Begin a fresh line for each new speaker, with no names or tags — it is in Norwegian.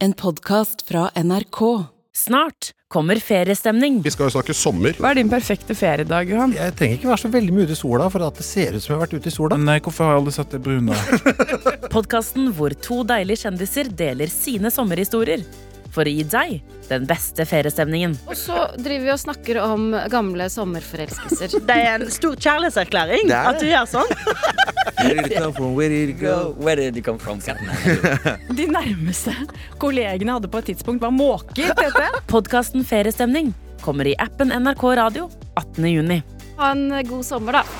En podkast fra NRK.
Snart kommer feriestemning.
Vi skal jo snakke sommer.
Mm. Hva er din perfekte feriedag, Johan?
Jeg trenger ikke være så veldig mye ute i sola for at det ser ut som jeg har vært ute i sola.
Nei, hvorfor har jeg aldri sett det brune?
Podkasten hvor to deilige kjendiser deler sine sommerhistorier. For å gi deg den beste feriestemningen.
Og så driver vi og snakker om gamle sommerforelskelser.
Det er en stor kjærlighetserklæring at du gjør sånn.
De nærmeste kollegene jeg hadde på et tidspunkt, var måker. Tete.
Podkasten Feriestemning kommer i appen NRK Radio 18. juni.
Ha en god sommer, da.